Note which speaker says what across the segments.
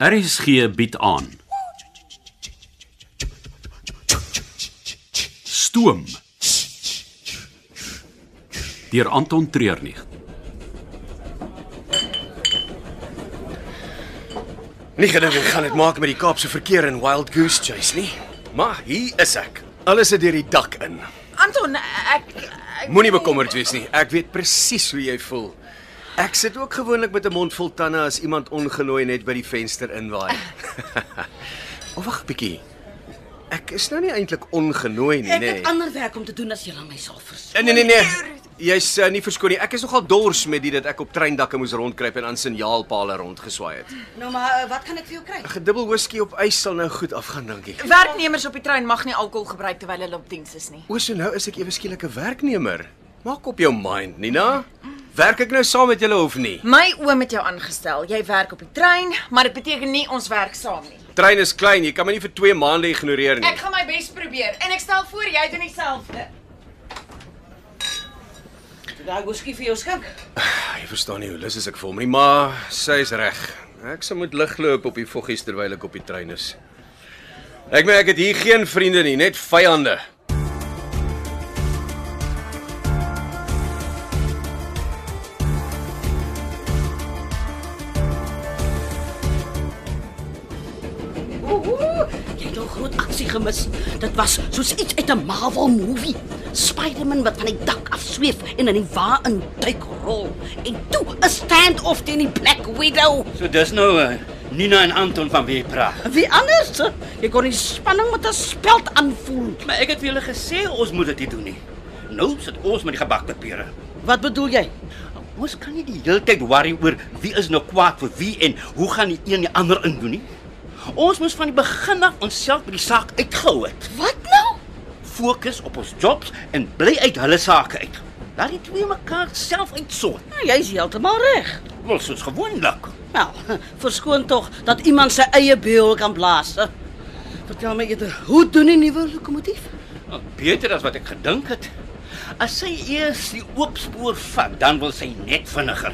Speaker 1: RSG bied aan. Stoom. Deur Anton Treurnig.
Speaker 2: Nie gedink ek gaan dit maak met die Kaapse verkeer en Wild Goose Chase nie. Maar hier is ek. Alles is deur die dak in.
Speaker 3: Anton, ek, ek
Speaker 2: Moenie bekommerd wees nie. Ek weet presies hoe jy voel. Ek sit ook gewoonlik met 'n mond vol tande as iemand ongenooi net by die venster inwaai. of wag 'n bietjie. Ek is nou nie eintlik ongenooi nie,
Speaker 3: Ek
Speaker 2: nê?
Speaker 3: het ander werk om te doen as jy aan my sal vers.
Speaker 2: Nee nee nee. Jy's uh, nie verskoon nie. Ek is nogal dors met dit dat ek op treindakke moes rondkruip en aan signaalpale rondgeswaai het.
Speaker 3: Nou maar, wat gaan ek vir jou kry?
Speaker 2: 'n Gedubbel whisky op ys sal nou goed afgaan, dankie.
Speaker 4: Werknemers op die trein mag nie alkohol gebruik terwyl hulle op diens is nie.
Speaker 2: O, so nou is ek ewe skielik 'n werknemer. Maak op jou mind, Nina. Werk ek nou saam met julle of nie?
Speaker 4: My oom het jou aangestel. Jy werk op die trein, maar dit beteken nie ons werk saam nie.
Speaker 2: Trein is klein, jy kan my nie vir 2 maande ignoreer nie.
Speaker 4: Ek gaan my bes probeer en ek stel voor jy doen dieselfde.
Speaker 3: Daai goskie vir jou skink.
Speaker 2: Ah, Jy verstaan nie hoe lus is ek vir hom nie, maar sy is reg. Ek sal moet ligloop op die voggies terwyl ek op die trein is. Ek meen ek het hier geen vriende nie, net vyande.
Speaker 3: Ooh, jy het 'n groot aksie gemis. Dit was soos iets uit 'n Marvel movie. Spider-Man wat van die dak af sweef en in die wa in duik rol. En toe 'n stand-off teen die Black Widow.
Speaker 5: So dis nou eh, Nina en Anton van wie jy praat.
Speaker 3: Wie anders? Jy kon die spanning met 'n speld aanvoel.
Speaker 5: Maar ek het vir julle gesê ons moet dit nie doen nie. Nou sit ons met die gebakte pere.
Speaker 3: Wat bedoel jy?
Speaker 5: Ons kan nie die hele tyd worry oor wie is nou kwaad vir wie en hoe gaan die een die ander indoen nie. Ons moes van die begin af onsself by die saak uitgehou het.
Speaker 3: Wat nou?
Speaker 5: Fokus op ons jobs en bly uit hulle sake uit. Laat die twee mekaar self uitsort.
Speaker 3: Nou, Jy's heeltemal reg.
Speaker 5: Wel soos gewoonlik.
Speaker 3: Nou, verskoon tog dat iemand sy eie beul kan blaas. Vertel my eerder, hoe doen die nuwe lokomotief?
Speaker 5: Nou, Beter as wat ek gedink het. As sy eers die oop spoor vat, dan wil sy net vinniger.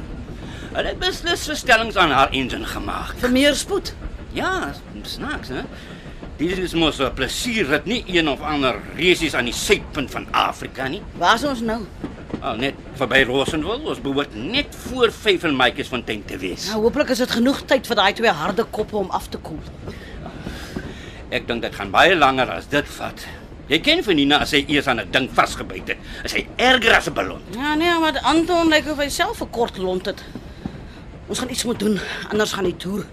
Speaker 5: Hulle het beslis verstellings aan haar engine gemaak.
Speaker 3: Vir meer spoed.
Speaker 5: Ja, snaaks, hè? Dit is mos 'n plesier dat nie een of ander reisies aan die suidpunt van Afrika nie.
Speaker 3: Waar is ons nou?
Speaker 5: Al net verby Rosenwil, ons behoort net voor 5 en Maatjiesfontein te wees.
Speaker 3: Nou, hopelik is dit genoeg tyd vir daai twee harde koppe om af te koel.
Speaker 5: Ek dink dit gaan baie langer as dit vat. Jy ken vir Nina as sy eers aan 'n ding vasgebyt het. Is hy erger as 'n ballon?
Speaker 3: Ja nee, maar Anton lyk of hy self 'n kort lont het. Ons gaan iets moet doen, anders gaan die toer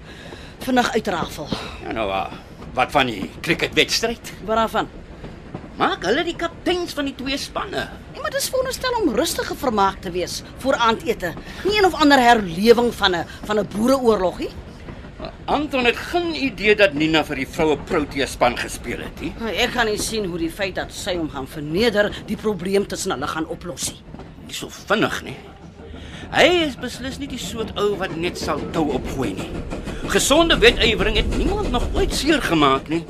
Speaker 3: vinnig uitrafel.
Speaker 5: Ja, nou, ah, wat van die cricketwedstryd?
Speaker 3: Waarvan?
Speaker 5: Maak hulle die kapteins van die twee spanne.
Speaker 3: Nee, maar dis veronderstel om rustige vermaak te wees voor aandete. Nie een of ander herlewing van 'n van 'n boereoorlog nie.
Speaker 5: Anton het geen idee dat Nina vir die vroue Protea span gespeel het nie.
Speaker 3: Nou, Ek kan nie sien hoe die feit dat sy hom gaan verneder die probleem tussen hulle gaan oplos nie.
Speaker 5: Nie so vinnig nie. Hy is beslis nie die soort ou wat net sal tou opgooi nie. Gesonde wedywering het niemand nog ooit seer gemaak nie.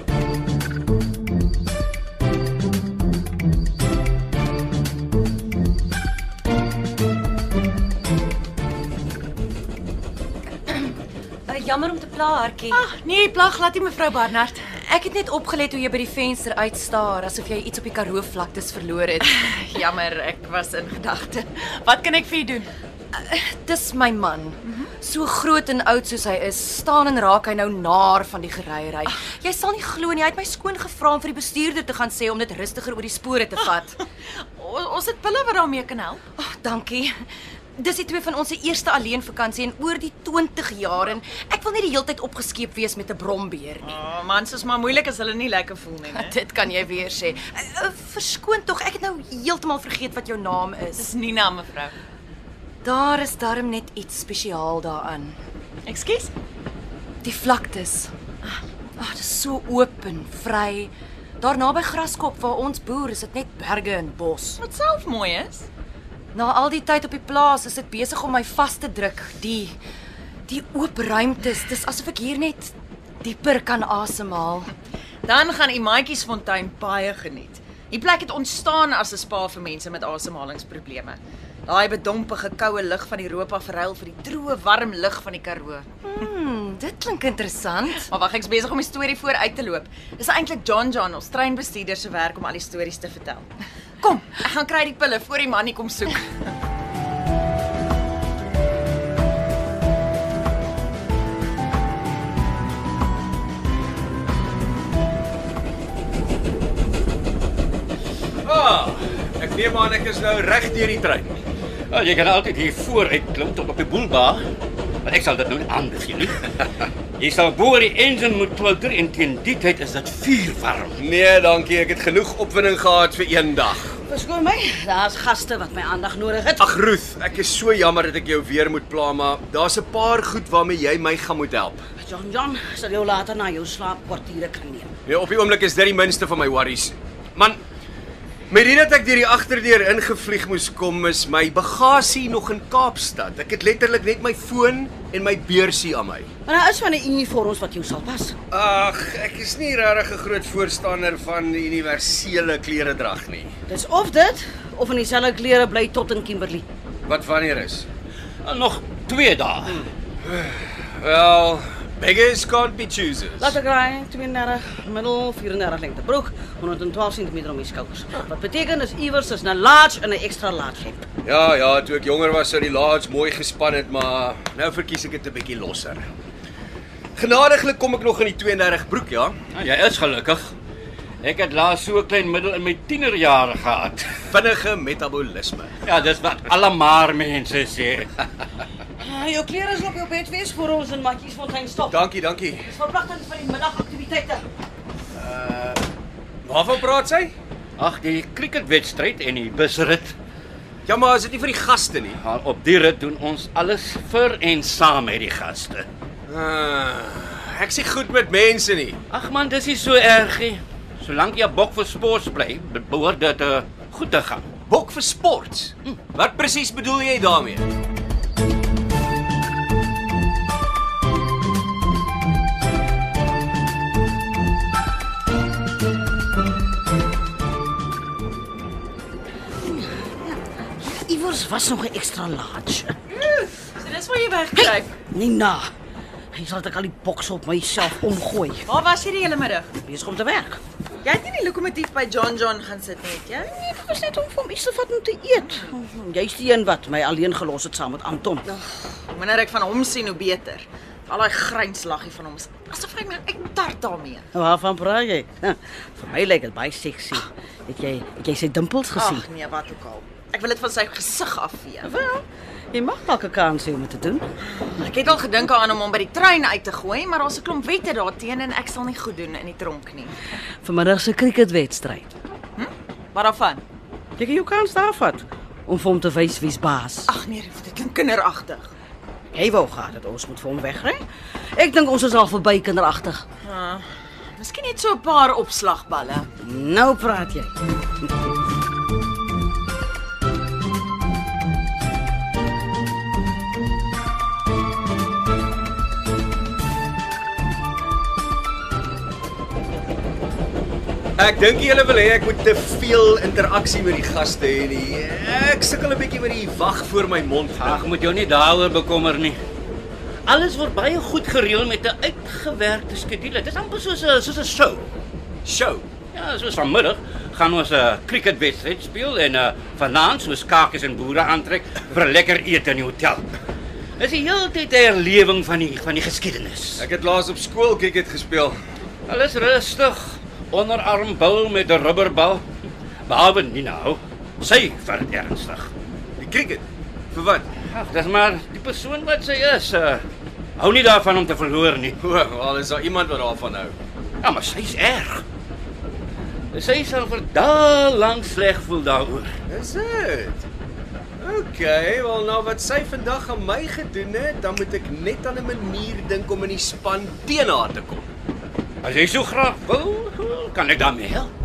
Speaker 6: Uh, jammer om te pla, hartjie.
Speaker 4: Ag, nee, plag laat nie mevrou Barnard.
Speaker 6: Ah, Ek het net opgelet hoe jy by die venster uitstaar asof jy iets op die Karoo vlaktes verloor het.
Speaker 4: Jammer, ek was in gedagte. Wat kan ek vir u doen?
Speaker 6: Dis my man. So groot en oud soos hy is, staan en raak hy nou naar van die geryery. Jy sal nie glo nie, hy het my skoon gevra om vir die bestuurder te gaan sê om dit rustiger oor die spore te vat.
Speaker 4: O, ons het pille wat daarmee kan help.
Speaker 6: Ag, oh, dankie. Dis die twee van ons se eerste alleen vakansie en oor die 20 jaar en ek wil nie die hele tyd opgeskeep wees met 'n brombeer nie.
Speaker 4: O, mans is maar moeilik as hulle nie lekker voel nie, né?
Speaker 6: Dit kan jy weer sê. Uh, uh, Verskoon tog, ek het nou heeltemal vergeet wat jou naam is.
Speaker 4: Dis Nina, mevrou.
Speaker 6: Daar is darm net iets spesiaal daaraan.
Speaker 4: Ekskuus.
Speaker 6: Die vlaktes. Ag, dit is so oop en vry. Daar naby Graskop waar ons boer, is dit net berge en bos.
Speaker 4: Wat self mooi is.
Speaker 6: Na al die tyd op die plaas is dit besig om my vas te druk, die die oop ruimtes. Dis asof ek hier net dieper kan asemhaal.
Speaker 4: Dan gaan u Maatjiesfontein baie geniet. Die plek het ontstaan as 'n spa vir mense met asemhalingsprobleme. Daai bedompige koue lug van Europa verruil vir die droë warm lug van die Karoo.
Speaker 6: Hmm, dit klink interessant.
Speaker 4: Maar wag, ek's besig om die storie vooruit te loop. Dis eintlik John John, ons treinbestuurder se werk om al die stories te vertel. Kom, ek gaan kry die pille voor die man nie kom soek.
Speaker 2: Ah, ek neem aan ek is nou reg deur die trein.
Speaker 5: Ja, jy kan altyd hier vooruit klim tot op die boelba, maar ek sal dit nou nie aanbeveel nie. jy sal boor die engine moet klou en teen die tyd is dit vuurwarm.
Speaker 2: Nee, dankie, ek het genoeg opwinding gehad vir een dag.
Speaker 3: Verskoon my, daar's gaste wat my aandag nodig het.
Speaker 2: Ag Ruth, ek is so jammer dat ek jou weer moet pla, maar daar's 'n paar goed waarmee jy my gaan moet help.
Speaker 3: John John sal jou later na jou slaapkwartiere kan neem.
Speaker 2: Nee, op die oomblik is dit die minste van my worries. Man, met dit dat ek deur die agterdeur ingevlieg moes kom, is my bagasie nog in Kaapstad. Ek het letterlik net my foon en my beursie aan my.
Speaker 3: Maar daar is van 'n uniforms wat jou sal pas.
Speaker 2: Ag, ek is nie regtig 'n groot voorstander van die universele kleredrag nie.
Speaker 3: Dis of dit of in dieselfde klere bly tot in Kimberley.
Speaker 2: Wat wanneer is?
Speaker 5: En nog 2 dae.
Speaker 2: Wel, beggars can't be choosers.
Speaker 3: Laat ek raai, 32 middel 34 lengte broek, 112 cm om die skouders. Wat beteken dis iewers is 'n large en 'n extra large hemp.
Speaker 2: Ja, ja, toe ek jonger was sou die laats mooi gespan het, maar nou verkies ek dit 'n bietjie losser. Genadiglik kom ek nog in die 32 broek, ja.
Speaker 5: Nou, jy is gelukkig. Ek het laas so 'n klein middel in my tienerjare gehad.
Speaker 2: Vinnige metabolisme.
Speaker 5: Ja, dis wat almaar mense sê.
Speaker 3: Ah, jou klere is op jou bed wees voor ons in Matjiesfontein stop.
Speaker 2: Dankie, dankie.
Speaker 3: Dis verpligting vir die middagaktiwiteite.
Speaker 2: Waarvan praat sy?
Speaker 5: Ag, die cricketwedstryd en die busrit.
Speaker 2: Ja, maar is dit nie vir die gaste nie?
Speaker 5: Maar op die rit doen ons alles vir en saam met die gaste.
Speaker 2: Uh, ek sê goed met mense nie.
Speaker 5: Ag man, dis nie so erg nie. Solank jy bok vir sport bly, be- behoort dit uh, goed te gaan.
Speaker 2: Bok vir sport. Wat presies bedoel jy daarmee?
Speaker 3: Iewers was nog 'n extra large.
Speaker 4: So dis waar jy wegkruip.
Speaker 3: Nina, Nee, hy sal dit al die boks op myself omgooi.
Speaker 4: Waar was jy die hele middag?
Speaker 3: Besig om te werk.
Speaker 4: Jy het nie die lokomotief by John John gaan sit nie, het jy?
Speaker 3: Nee, dit was net om vir hom iets te vat om te eet. Hm, Jy's die een wat my alleen gelos het saam met Anton.
Speaker 4: Hoe minder ek van hom sien, hoe beter. Al daai grynslaggie van hom is asof hy my uittart daarmee.
Speaker 3: Nou, Waarvan praat jy? Vir my lyk dit baie seksie. Het jy het jy sy dimpels gesien?
Speaker 4: Ag nee, wat ook al. Ek wil dit van sy gesig afvee.
Speaker 3: Wel, jy mag dalk 'n kans hê om dit te doen.
Speaker 4: Ek het al gedink aan om hom by die trein uit te gooi, maar daar's 'n klomp wette daarteen en ek sal nie goed doen in die tronk nie.
Speaker 3: Vanmiddag se cricketwedstryd.
Speaker 4: Wat daarvan?
Speaker 3: Jy kan jou kans daar vat om vir hom te wys wie's baas.
Speaker 4: Ag nee, dit klink kinderagtig.
Speaker 3: Hy Ah, wou gaan dat ons moet vir hom wegry. Ek dink ons is al verby kinderagtig.
Speaker 4: Miskien net so 'n paar opslagballe.
Speaker 3: Nou praat jy.
Speaker 2: Ek dink julle wil hê ek moet te veel interaksie met die gaste hê nie. Ek sukkel 'n bietjie met die wag voor my mond.
Speaker 5: Ag, moet jou nie daaroor bekommer nie. Alles word baie goed gereël met 'n uitgewerkte skedule. Dit is amper soos 'n soos 'n show.
Speaker 2: Show.
Speaker 5: Ja, soos vanmiddag gaan ons 'n uh, cricketwedstryd speel en uh, vanaand soos kakies en boere aantrek vir lekker eet in die hotel. Dis die hele tyd 'n herlewing van die van die geskiedenis.
Speaker 2: Ek het laas op skool cricket gespeel.
Speaker 5: Alles rustig, onderarm bul met 'n rubberbal. Behalwe Nina hou. Sy vir ernstig.
Speaker 2: Die cricket. Vir wat?
Speaker 5: Ag, dis maar die persoon wat sy is. Uh, hou nie daarvan om te verloor nie.
Speaker 2: O, wel is daar iemand wat daarvan hou.
Speaker 5: Ja, maar sy's erg. Sy sal vir dae lank sleg voel daaroor.
Speaker 2: Is dit? OK, wel nou wat sy vandag aan my gedoen het, dan moet ek net aan 'n manier dink om in die span teen haar te kom.
Speaker 5: As jy so graag wil, kan ek daarmee help.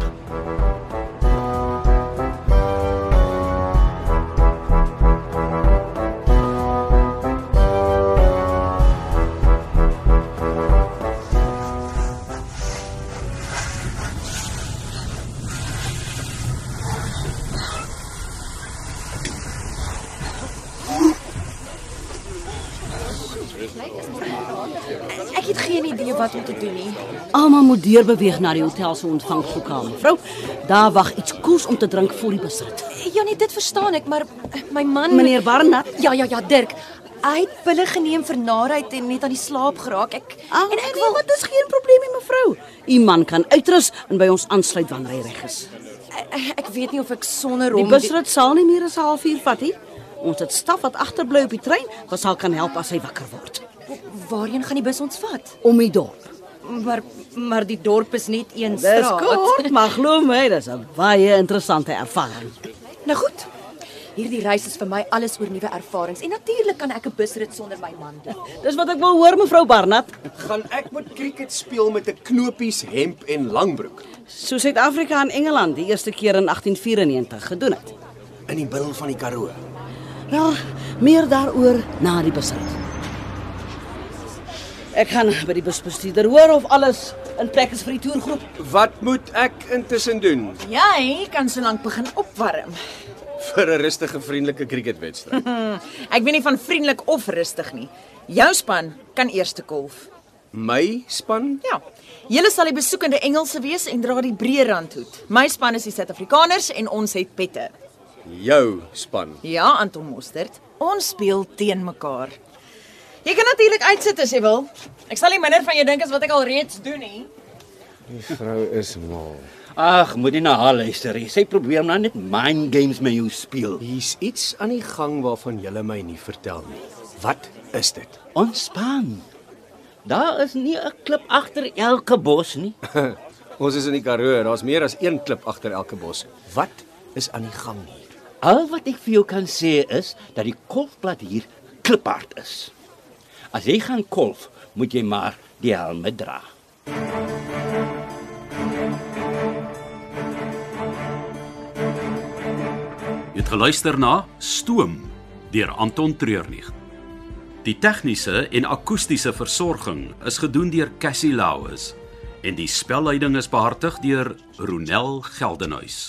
Speaker 6: wat om te doen nie.
Speaker 3: Almal moet deurbeweeg na die hotel se ontvangskoekamer. Vrou, daar wag iets koels om te drink voor die besit.
Speaker 6: Janie, Eh, ja, nee, dit verstaan ek, maar eh, my man
Speaker 3: Meneer Barnard,
Speaker 6: Ja, ja, ja, Dirk. Hy het pille geneem vir narigheid en net aan die slaap geraak. Ek
Speaker 3: en
Speaker 6: en
Speaker 3: ek wil dit is geen probleem nie mevrou. U man kan uitrus en by ons aansluit wanneer hy reg is.
Speaker 6: eh, ek, ek weet nie of ek sonder
Speaker 3: Die
Speaker 6: hom
Speaker 3: busrit sal nie meer as 'n halfuur vat nie. Ons het staf wat agterbly op die trein, wat sal kan help as hy wakker word.
Speaker 6: waarheen gaan die bus ons vat?
Speaker 3: Om die dorp.
Speaker 6: Maar maar die dorp is net een
Speaker 3: Dis
Speaker 6: straat.
Speaker 3: kort, maar glo my, dis 'n baie interessante ervaring.
Speaker 6: Nou goed. Hierdie reis is vir my alles oor nuwe ervarings en natuurlik kan ek 'n busrit sonder my man doen.
Speaker 3: Dis wat ek wil hoor mevrou Barnard.
Speaker 2: Gaan ek moet cricket speel met 'n knopies hemp en langbroek
Speaker 3: So Suid-Afrika en Engeland die eerste keer in 1894 gedoen het.
Speaker 2: in die middel van die Karoo.
Speaker 3: Wel, meer daaroor na die besit. Ek gaan by die busbestuurder hoor of alles in plek is vir die toergroep.
Speaker 2: Wat moet ek intussen doen
Speaker 4: Jy kan so lank begin opwarm.
Speaker 2: vir 'n rustige vriendelike cricketwedstryd?
Speaker 4: Ek weet nie van vriendelik of rustig nie. Jou span kan eers te kolf.
Speaker 2: My span?
Speaker 4: Ja. Julle sal die besoekende Engelse wees en dra die breë randhoed. My span is die Suid-Afrikaners en ons het pette.
Speaker 2: Jou span.
Speaker 4: Ja, Anton Mostert. Ons speel teen mekaar. Jy kan natuurlik uitsit as jy wil. Ek sal nie minder van jou dink as wat ek al reeds doen nie.
Speaker 2: Vrou is mal.
Speaker 5: Ag, moet nie na haar luister nie. Sy probeer nou net mind games met jou speel.
Speaker 2: Hier's iets aan die gang waarvan jy my nie vertel nie. Wat is dit?
Speaker 5: Ontspan. Daar is nie 'n klip agter elke bos nie.
Speaker 2: Ons is in die Karoo, daar's meer as een klip agter elke bos. Wat is aan die gang hier?
Speaker 5: Al wat ek vir jou kan sê is dat die kolfplat hier kliphard is. As jy gaan kolf, moet jy maar die helm dra.
Speaker 1: Jy het geluister na Stoom deur Anton Treurnig. Die tegniese en akoestiese versorging is gedoen deur Cassie Lauis en die spelleiding is behartig deur Ronel Geldenhuys.